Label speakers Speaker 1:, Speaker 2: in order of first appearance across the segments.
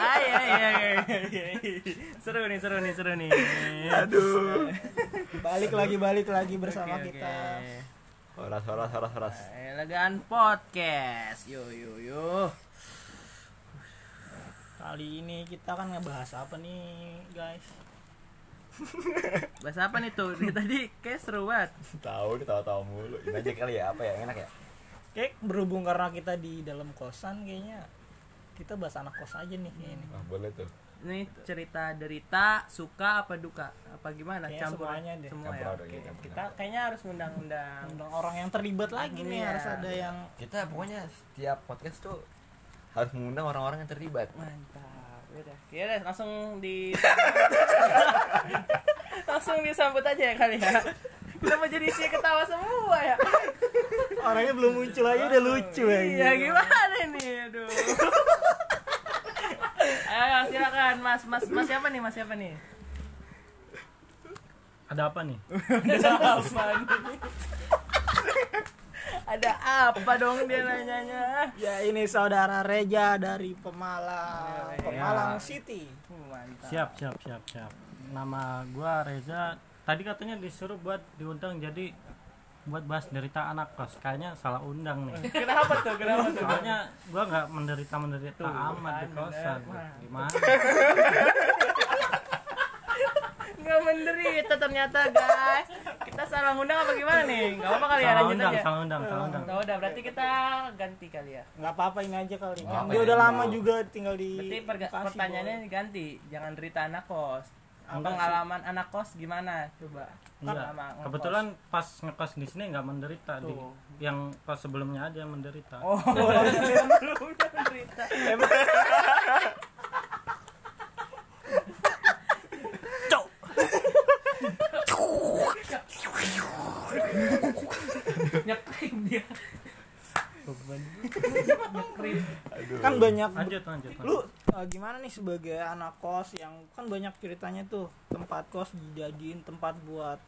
Speaker 1: Ay, ay, ay, ay, ay. iya, Seru nih, seru nih, seru nih.
Speaker 2: Aduh.
Speaker 3: balik lagi balik lagi bersama
Speaker 1: Oke,
Speaker 3: kita
Speaker 1: oke.
Speaker 2: Horas, horas, horas, horas.
Speaker 1: Elegan Podcast. Yo yo yo.
Speaker 3: kali ini kita kan ngebahas apa nih guys
Speaker 1: Bahasa apa nih tuh? Dari tadi kayak seru banget.
Speaker 2: Tahu ketawa-tawa mulu. Ini aja kali ya apa ya enak ya?
Speaker 3: kayak berhubung karena kita di dalam kosan kayaknya kita bahas anak kos aja nih kayak ini
Speaker 2: Wah, Nah, boleh tuh.
Speaker 1: Ini cerita derita, suka apa duka? Apa gimana?
Speaker 3: Kayaknya
Speaker 1: Campur
Speaker 3: semuanya deh.
Speaker 1: Semua ya.
Speaker 2: Campur aduk,
Speaker 1: oke.
Speaker 2: iya, campur
Speaker 1: Kita kayaknya harus undang-undang.
Speaker 3: tentang orang yang terlibat lagi nih
Speaker 1: Iya.
Speaker 3: harus ada yang
Speaker 2: Kita pokoknya setiap podcast tuh harus mengundang orang-orang yang terlibat.
Speaker 1: Mantap. Yaudah. Yaudah, langsung di langsung disambut aja ya kali ya. Kenapa jadi sih ketawa semua ya?
Speaker 3: orangnya belum muncul aja udah lucu ya
Speaker 1: Iya, gimana ini? Aduh. Ayo silakan Mas, Mas, Mas siapa nih? Mas siapa nih?
Speaker 3: ada apa nih
Speaker 1: ada apa nih? ada apa dong dia nanyanya
Speaker 3: ya ini saudara Reja dari Pemalang
Speaker 1: Iya,
Speaker 3: Pemalang City
Speaker 1: Uh, mantap
Speaker 4: Siap, siap, siap, siap. Nama gua Reza. Tadi katanya disuruh buat diundang jadi buat bahas derita anak kos. Kayaknya salah undang nih.
Speaker 1: kenapa tuh kenapa tuh
Speaker 4: Soalnya gua nggak menderita menderita
Speaker 1: Tuh, kan,
Speaker 4: amat di
Speaker 1: bener,
Speaker 4: kosan.
Speaker 1: Mas.
Speaker 4: Gimana?
Speaker 1: nggak menderita ternyata guys kita salah ngundang apa gimana nih nggak apa kali ya
Speaker 4: Salah
Speaker 1: lanjut
Speaker 4: undang,
Speaker 1: aja
Speaker 4: salah undang, salah undang.
Speaker 1: Tahu udah berarti kita ganti kali ya
Speaker 3: nggak apa-apa ini aja kali
Speaker 2: Nggak
Speaker 3: kan
Speaker 2: apa-apa,
Speaker 3: dia
Speaker 2: ini
Speaker 3: udah
Speaker 2: dulu.
Speaker 3: lama juga tinggal di
Speaker 1: berarti perga-
Speaker 3: Bekasi,
Speaker 1: pertanyaannya ganti jangan derita anak kos
Speaker 4: Enggak
Speaker 1: pengalaman anak kos gimana coba
Speaker 4: Enggak.
Speaker 1: Sama ngekos.
Speaker 4: Kebetulan pas ngekos di sini nggak menderita di
Speaker 1: Tuh.
Speaker 4: yang pas sebelumnya aja yang menderita.
Speaker 1: oh belum menderita nyekrim dia nyekrim
Speaker 3: Boy. kan banyak
Speaker 4: Lanjut, lanjut. lanjut.
Speaker 3: lu uh, gimana nih sebagai anak kos yang kan banyak ceritanya tuh tempat kos dijadiin tempat buat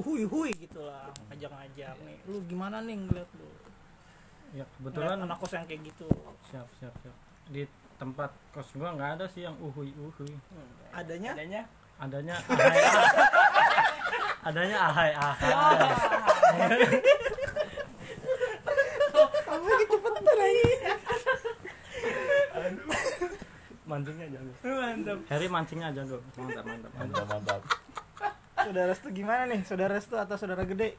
Speaker 3: uhui hui gitu lah ngajak ngajak nih lu gimana nih ngeliat lu
Speaker 4: Ya
Speaker 3: ngeliat
Speaker 4: kebetulan
Speaker 3: anak kos yang kayak gitu
Speaker 4: siap, siap, siap. Di tempat kos gua nggak ada sih yang uhui uhui.
Speaker 3: adanya
Speaker 1: adanya
Speaker 4: adanya ahai ah. adanya ahai ahai
Speaker 3: kamu kecepetan lagi
Speaker 4: mancingnya jago
Speaker 1: mantap
Speaker 4: Harry mancingnya jago mantap mantap mantap
Speaker 2: Mantap, mantap.
Speaker 3: saudara restu gimana nih saudara restu atau saudara gede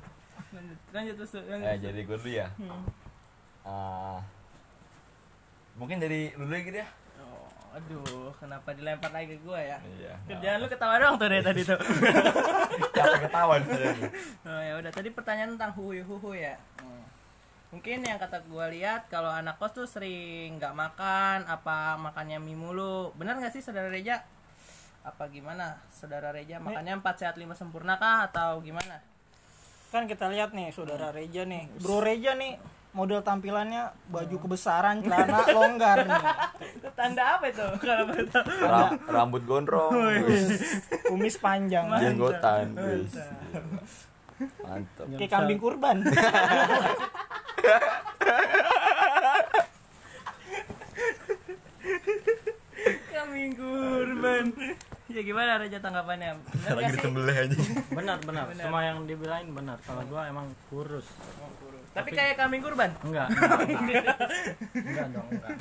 Speaker 1: lanjut lanjut terus lanjut
Speaker 2: Eh, jadi gue dulu ya. Ah, mungkin dari dulu ya gitu ya.
Speaker 1: oh, aduh kenapa dilempar lagi ke gue ya
Speaker 2: Iya.
Speaker 1: kerjaan lu ketawa doang tuh dari tadi tuh
Speaker 2: capek ketahuan sebenarnya.
Speaker 1: Oh, ya udah tadi pertanyaan tentang huhu huhu ya. Hmm. Mungkin yang kata gua lihat kalau anak kos tuh sering nggak makan, apa makannya mie mulu. Benar nggak sih saudara Reja? Apa gimana saudara Reja? Makannya 4 sehat 5 sempurna kah atau gimana?
Speaker 3: kan kita lihat nih saudara Reja nih bro Reja nih model tampilannya baju kebesaran celana longgar nih
Speaker 1: Tanda apa itu? Kalau boleh tahu.
Speaker 2: Ram- rambut gondrong, wis.
Speaker 3: kumis panjang
Speaker 2: jenggotan, wis. Mantap.
Speaker 4: Yang
Speaker 3: kayak
Speaker 4: bisa-
Speaker 3: kambing kurban
Speaker 1: Kambing kurban. ya gimana Reja tanggapannya? Benar
Speaker 2: Lagi
Speaker 1: nggak sih?
Speaker 2: disembelih aja.
Speaker 4: benar benar
Speaker 1: Benar.
Speaker 4: semua yang dibilangin benar kalau gua emang kurus
Speaker 1: Tapi kayak kambing kurban.
Speaker 4: enggak enggak, enggak. Enggak dong enggak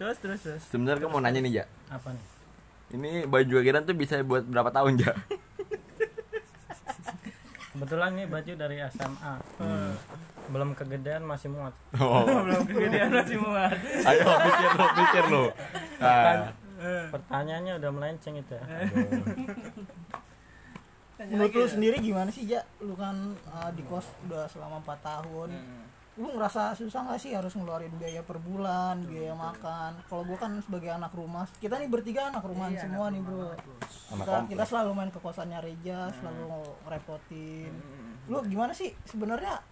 Speaker 1: Terus terus terus.
Speaker 2: Sebenarnya gue mau nanya nih, ya.
Speaker 4: apa nih
Speaker 2: Ini baju ageran tuh bisa buat berapa tahun, Ja?
Speaker 4: kebetulan ini baju dari SMA
Speaker 3: Hmm.
Speaker 4: belum kegedean masih muat
Speaker 2: Oh.
Speaker 1: Belum kegedean masih muat.
Speaker 2: Ayo pikir lo, pikir lo. Nah,
Speaker 3: Hmm.
Speaker 4: pertanyaannya udah melenceng itu ya
Speaker 1: Tanya
Speaker 3: menurut
Speaker 1: lagi
Speaker 3: lu
Speaker 1: ya.
Speaker 3: sendiri gimana sih ja lu kan uh, di kos udah selama 4 tahun
Speaker 1: Hmm.
Speaker 3: lu ngerasa susah nggak sih harus ngeluarin biaya per bulan biaya makan kalau gua kan sebagai anak rumah kita nih bertiga anak Nah. rumahan
Speaker 1: Iya,
Speaker 3: semua
Speaker 1: anak
Speaker 3: nih bro
Speaker 1: rumah,
Speaker 2: Anak
Speaker 3: kita,
Speaker 2: komplek.
Speaker 3: kita selalu main ke kosannya Reja selalu ngerepotin
Speaker 1: Hmm.
Speaker 3: lu gimana sih sebenarnya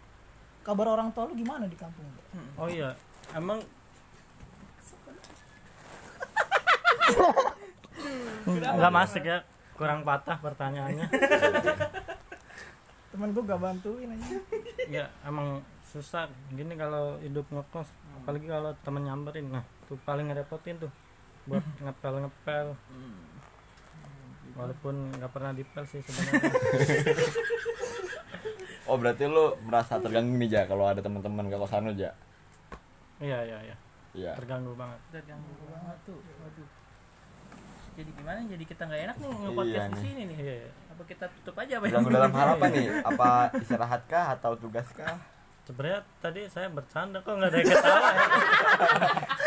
Speaker 3: kabar orang tua lu gimana di kampung
Speaker 4: oh iya emang nggak masuk ya kurang patah pertanyaannya
Speaker 3: temen gua gak bantuin aja
Speaker 4: ya emang susah gini kalau hidup ngekos apalagi kalau temen nyamperin nah tuh paling ngerepotin tuh buat
Speaker 3: Hmm.
Speaker 4: ngepel ngepel walaupun nggak pernah dipel sih sebenarnya
Speaker 2: Oh berarti lu merasa terganggu nih ja kalau ada teman-teman ke kosan lu ja?
Speaker 4: iya iya iya
Speaker 3: Ah.
Speaker 2: Iya.
Speaker 4: terganggu banget
Speaker 1: terganggu banget tuh waduh jadi gimana jadi kita nggak enak nih nge-podcast
Speaker 2: Iya
Speaker 1: di
Speaker 2: nih.
Speaker 1: sini nih
Speaker 4: iya iya
Speaker 1: apa kita tutup aja Iya, apa
Speaker 2: Terganggu dalam hal apa nih? Apa istirahat kah atau tugas kah?
Speaker 4: sebenarnya tadi saya bercanda kok nggak ada yang ketawa ya?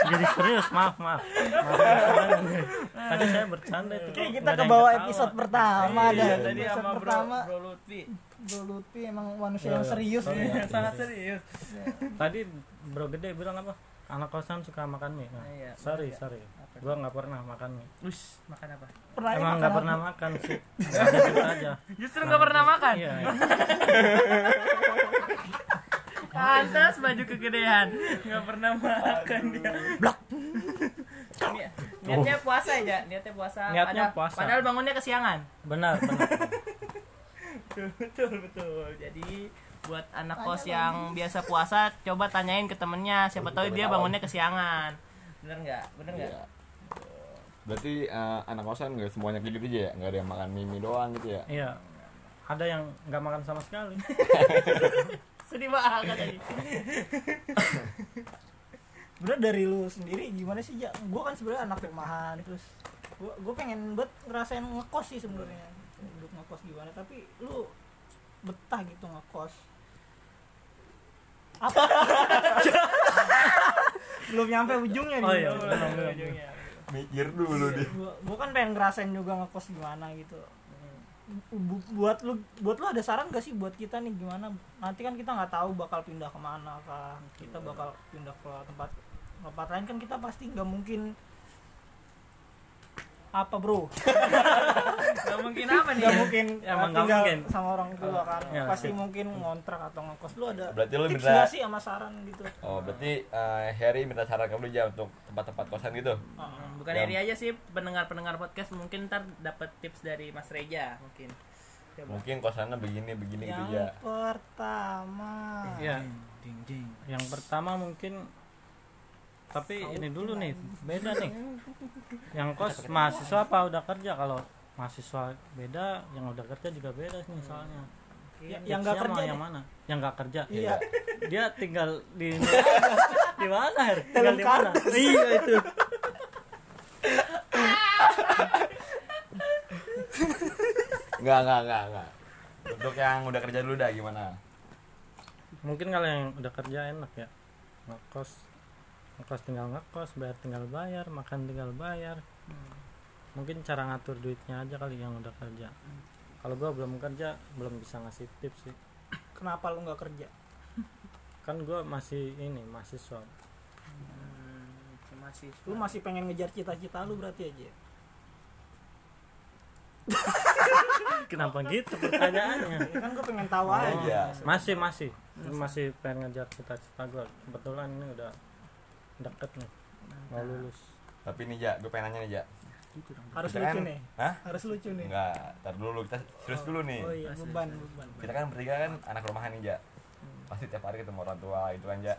Speaker 4: jadi serius maaf maaf, maaf maaf. tadi saya bercanda itu
Speaker 3: Oke,
Speaker 4: kok
Speaker 3: kita
Speaker 4: nggak ada
Speaker 3: ke
Speaker 4: yang
Speaker 3: bawah
Speaker 4: ketawa.
Speaker 3: episode pertama
Speaker 1: Iya,
Speaker 3: dah.
Speaker 1: tadi
Speaker 3: Episode
Speaker 1: sama bro,
Speaker 3: pertama,
Speaker 1: bro Lutfi
Speaker 3: Bro Lutfi emang manusia
Speaker 4: Iya,
Speaker 3: yang
Speaker 4: iya.
Speaker 3: serius
Speaker 4: Sorry,
Speaker 3: nih.
Speaker 4: ya.
Speaker 1: sangat serius
Speaker 4: tadi bro gede bilang apa anak kosan suka makan mie nah,
Speaker 1: Iya,
Speaker 4: sorry
Speaker 1: iya.
Speaker 4: sorry
Speaker 1: Apa?
Speaker 4: gua nggak pernah makan mie
Speaker 1: Ush, makan apa
Speaker 3: Pernah ini
Speaker 4: emang
Speaker 3: makan
Speaker 4: nggak
Speaker 3: apa?
Speaker 4: pernah makan sih Nggak ada duit aja
Speaker 3: Iya,
Speaker 1: justru nggak pernah makan
Speaker 4: iya iya.
Speaker 1: pantas baju kegedean nggak pernah makan dia blok ya. niatnya puasa aja niatnya puasa
Speaker 4: Niatnya
Speaker 1: padahal,
Speaker 4: puasa.
Speaker 1: padahal bangunnya kesiangan
Speaker 4: benar benar
Speaker 1: betul betul betul jadi buat anak kos yang biasa puasa coba tanyain ke temennya siapa tahu dia bangunnya kesiangan bener nggak bener nggak
Speaker 2: Iya. Berarti eh, anak kosan nggak semuanya kayak gitu aja ya? Nggak ada yang makan mimi doang gitu ya?
Speaker 4: iya ada yang nggak makan sama sekali
Speaker 1: sedih banget tadi
Speaker 3: Bener dari lu sendiri gimana sih ja? Gue kan sebenarnya anak rumahan terus gue gue pengen buat ngerasain ngekos sih sebenarnya buat ngekos gimana tapi lu betah gitu ngekos apa belum nyampe ujungnya nih
Speaker 4: Oh, iya.
Speaker 3: Belum.
Speaker 4: Belum, belum.
Speaker 1: Ujungnya.
Speaker 2: Mikir dulu deh.
Speaker 3: gua, gua kan pengen ngerasain juga ngekos gimana gitu
Speaker 2: Hmm.
Speaker 3: Bu- buat lu buat lu ada saran gak sih buat kita nih gimana nanti kan kita nggak tahu bakal pindah kemana kah kita
Speaker 2: Iya.
Speaker 3: bakal pindah ke tempat tempat lain kan kita pasti nggak mungkin apa bro
Speaker 1: nggak mungkin apa nih
Speaker 3: nggak mungkin
Speaker 4: Ya,
Speaker 3: uh,
Speaker 4: emang nggak
Speaker 3: tinggal
Speaker 4: mungkin.
Speaker 3: sama orang tua kan
Speaker 4: Ya,
Speaker 3: pasti
Speaker 4: sih.
Speaker 3: mungkin ngontrak atau ngekos lu ada
Speaker 2: Berarti lu
Speaker 3: tips
Speaker 2: minta-
Speaker 3: nggak sih sama saran gitu
Speaker 2: Oh berarti eh, Harry minta saran ke lu ja untuk tempat-tempat kosan gitu?
Speaker 3: Uh,
Speaker 1: bukan
Speaker 2: Yang-
Speaker 1: dari aja sih pendengar-pendengar podcast mungkin ntar dapat tips dari Mas Reja mungkin coba
Speaker 2: Mungkin kosannya begini begini
Speaker 3: yang
Speaker 2: gitu ja.
Speaker 3: pertama
Speaker 4: iya yang pertama mungkin tapi ini dulu nih beda nih yang kos mahasiswa apa udah kerja kalau mahasiswa beda yang udah kerja juga beda sih misalnya
Speaker 3: Ya, yang nggak kerja
Speaker 4: Tipsnya mah
Speaker 3: deh.
Speaker 4: yang mana yang nggak kerja
Speaker 3: iya
Speaker 4: dia tinggal di di mana Her? tinggal
Speaker 3: Dalam
Speaker 4: di mana
Speaker 3: kardus.
Speaker 4: iya itu
Speaker 2: Enggak enggak enggak enggak. Untuk yang udah kerja dulu dah gimana?
Speaker 4: mungkin kalau yang udah kerja enak ya ngekos ngekos tinggal ngekos bayar tinggal bayar makan tinggal bayar
Speaker 1: Hmm,
Speaker 4: mungkin cara ngatur duitnya aja kali yang udah kerja kalau gua belum kerja belum bisa ngasih tips sih
Speaker 3: kenapa lu nggak kerja
Speaker 4: kan gua masih ini mahasiswa
Speaker 1: Hmm, masih
Speaker 3: lu masih pengen ngejar cita-cita lu berarti aja
Speaker 4: kenapa gitu pertanyaannya
Speaker 3: ya kan gue pengen tahu aja
Speaker 2: Iya.
Speaker 4: masih masih masih pengen ngejar cita-cita gua kebetulan ini udah deket nih
Speaker 1: Nah.
Speaker 4: mau lulus
Speaker 2: Tapi nih ja, gue pengen nanya nih ja.
Speaker 1: Gitu
Speaker 3: harus
Speaker 2: Kita
Speaker 3: lucu
Speaker 2: kan-
Speaker 3: nih
Speaker 2: Hah?
Speaker 3: harus lucu nih
Speaker 2: Enggak, tar dulu kita serius dulu nih.
Speaker 3: oh iya beban beban
Speaker 2: Kita kan bertiga kan anak rumahan nih ja. Pasti tiap hari ketemu orang tua itu kan
Speaker 1: Ya.
Speaker 2: ja.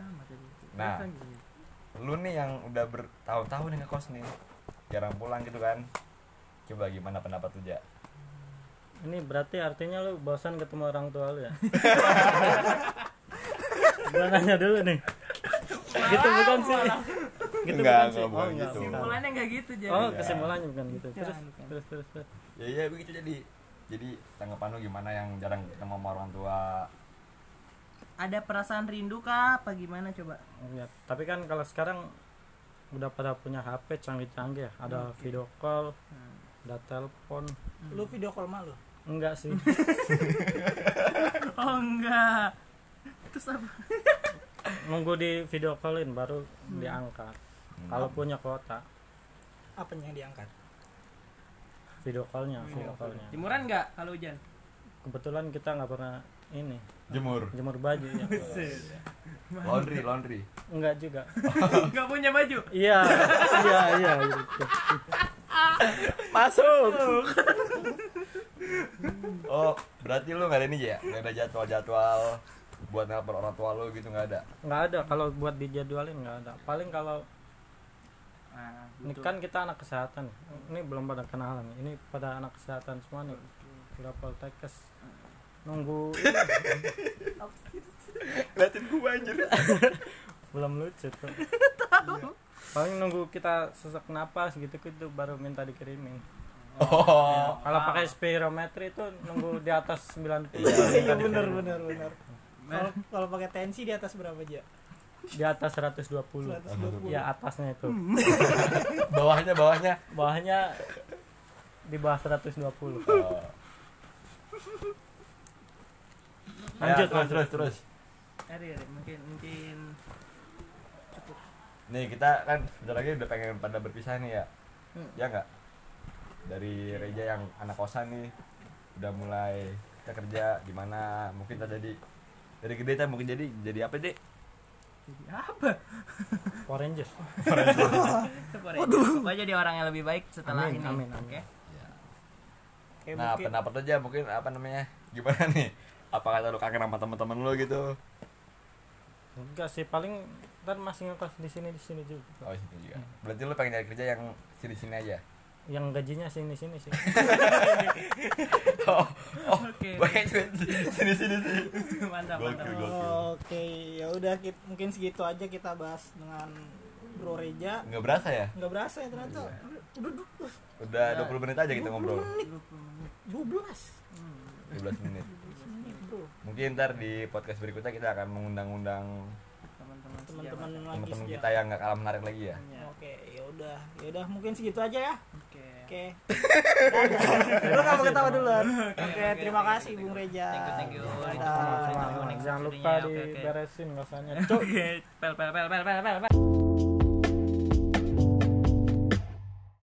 Speaker 2: Nah,
Speaker 1: Kan gitu.
Speaker 2: lu nih yang udah bertahun-tahun nih ngekos nih. Jarang pulang gitu kan. Coba gimana pendapat lu ja?
Speaker 4: Ini berarti artinya lu bosan ketemu orang tua lu ya? Gua nanya dulu nih. Gitu bukan sih. Gitu
Speaker 2: Enggak,
Speaker 4: bukan sih.
Speaker 2: enggak, bukan
Speaker 4: oh, enggak,
Speaker 2: gitu.
Speaker 4: bukan.
Speaker 1: kesimpulannya nggak gitu jadi Iya,
Speaker 4: Oh, kesimpulannya bukan gitu. Terus
Speaker 3: Jangan, bukan.
Speaker 4: terus terus. terus.
Speaker 2: Ya iya begitu jadi. Jadi tanggapan lu gimana yang jarang ketemu sama orang tua?
Speaker 1: ada perasaan rindu kah apa gimana coba
Speaker 4: Oh, iya. Tapi kan kalau sekarang udah pada punya HP canggih-canggih, ya. ada video call,
Speaker 1: Hmm.
Speaker 4: ada telepon.
Speaker 3: lu video call malu
Speaker 4: Enggak sih.
Speaker 1: oh enggak terus apa
Speaker 4: Nunggu di video callin baru
Speaker 1: Hmm.
Speaker 4: diangkat.
Speaker 2: Hmm.
Speaker 4: Kalau punya kuota
Speaker 3: apanya yang diangkat
Speaker 4: video callnya,
Speaker 1: Iya.
Speaker 4: video callnya.
Speaker 1: jemuran nggak kalau hujan
Speaker 4: Kebetulan kita nggak pernah ini
Speaker 2: Jemur.
Speaker 4: jemur baju ya.
Speaker 2: Laundry, laundry.
Speaker 4: Enggak juga.
Speaker 1: nggak punya baju
Speaker 4: Iya, iya, iya. gitu.
Speaker 1: masuk
Speaker 2: Oh, berarti lu nggak ada ini ya? Nggak ada jadwal-jadwal buat nelpon orang tua lu gitu nggak ada
Speaker 4: nggak ada kalau buat dijadwalin nggak ada paling kalau
Speaker 3: Ah,
Speaker 1: Nah,
Speaker 4: ini
Speaker 1: gitu.
Speaker 4: kan kita anak kesehatan ini belum pada kenalan nih. ini pada anak kesehatan semua nih udah poltekes nunggu
Speaker 2: liatin gua anjir
Speaker 4: belum lucu tuh Iya. paling nunggu kita sesak napas gitu gitu baru minta dikirimin
Speaker 2: oh
Speaker 4: kalau
Speaker 3: ah.
Speaker 4: pakai spirometri itu nunggu di atas 90 baru minta
Speaker 3: iya benar
Speaker 4: dikirimin.
Speaker 3: benar benar kalau kalau pakai tensi di atas berapa aja
Speaker 4: di atas 120
Speaker 3: 120
Speaker 2: Iya.
Speaker 4: ya atasnya itu
Speaker 2: bawahnya bawahnya
Speaker 4: bawahnya di bawah 120
Speaker 2: Oh. Ya,
Speaker 4: Lanjut,
Speaker 2: terus
Speaker 4: lanjut.
Speaker 2: terus terus
Speaker 1: Ari, Ari, mungkin mungkin cukup
Speaker 2: nih kita kan bentar lagi udah pengen pada berpisah nih ya
Speaker 1: Hmm.
Speaker 2: ya nggak dari Reja yang anak kosan nih udah mulai kita kerja di mana mungkin kita jadi dari gede kita mungkin jadi jadi apa deh
Speaker 1: jadi apa?
Speaker 4: Power Rangers
Speaker 1: Seperti itu. Pokoknya jadi orang yang lebih baik setelah
Speaker 4: Amin,
Speaker 1: ini.
Speaker 4: amin, amin.
Speaker 1: Oke.
Speaker 3: Kayak Ya,
Speaker 2: nah
Speaker 3: mungkin-
Speaker 2: pendapat aja mungkin apa namanya gimana nih apa kata lu kangen sama teman-teman lu gitu
Speaker 4: enggak sih paling ntar masih ngekos di sini di sini juga
Speaker 2: oh sini juga berarti lu pengen nyari kerja yang sini-sini aja
Speaker 4: yang gajinya sini sini sih
Speaker 2: oh oh
Speaker 1: Oke.
Speaker 2: banyak duit. sini-sini sih
Speaker 1: mantap,
Speaker 2: Gokil,
Speaker 1: mantap.
Speaker 2: gokil.
Speaker 3: Oke, ya udah kit- mungkin segitu aja kita bahas dengan Bro Reja.
Speaker 2: nggak berasa ya
Speaker 3: Nggak berasa ya ternyata. Udah du-
Speaker 2: udah
Speaker 1: Udah.
Speaker 2: 20 menit aja kita ngobrol
Speaker 3: 20 menit, 12
Speaker 1: Hmm,
Speaker 2: 12 menit
Speaker 3: menit, Bro.
Speaker 2: mungkin ntar di podcast berikutnya kita akan mengundang-undang
Speaker 1: Teman-teman
Speaker 3: Teman-teman
Speaker 1: sejawat.
Speaker 3: lagi
Speaker 2: Iya, teman-teman
Speaker 3: setia.
Speaker 2: kita yang nggak kalah menarik lagi ya
Speaker 1: Ya,
Speaker 3: Oke, ya udah. Ya udah mungkin segitu aja ya.
Speaker 1: Oke.
Speaker 3: Oke. Lu nggak mau ketawa duluan. Oke,
Speaker 1: oke,
Speaker 3: terima
Speaker 1: oke,
Speaker 3: kasih
Speaker 1: thank you,
Speaker 3: Bung
Speaker 1: thank
Speaker 3: Reja.
Speaker 1: Thank you, thank you. Itu semua
Speaker 3: Dadah.
Speaker 1: cerita
Speaker 4: Sama-sama.
Speaker 1: unik
Speaker 4: jangan
Speaker 1: sepertinya
Speaker 4: lupa
Speaker 1: ya. Oke, oke.
Speaker 4: diberesin rasanya
Speaker 1: Oke, pel pel pel pel pel pel.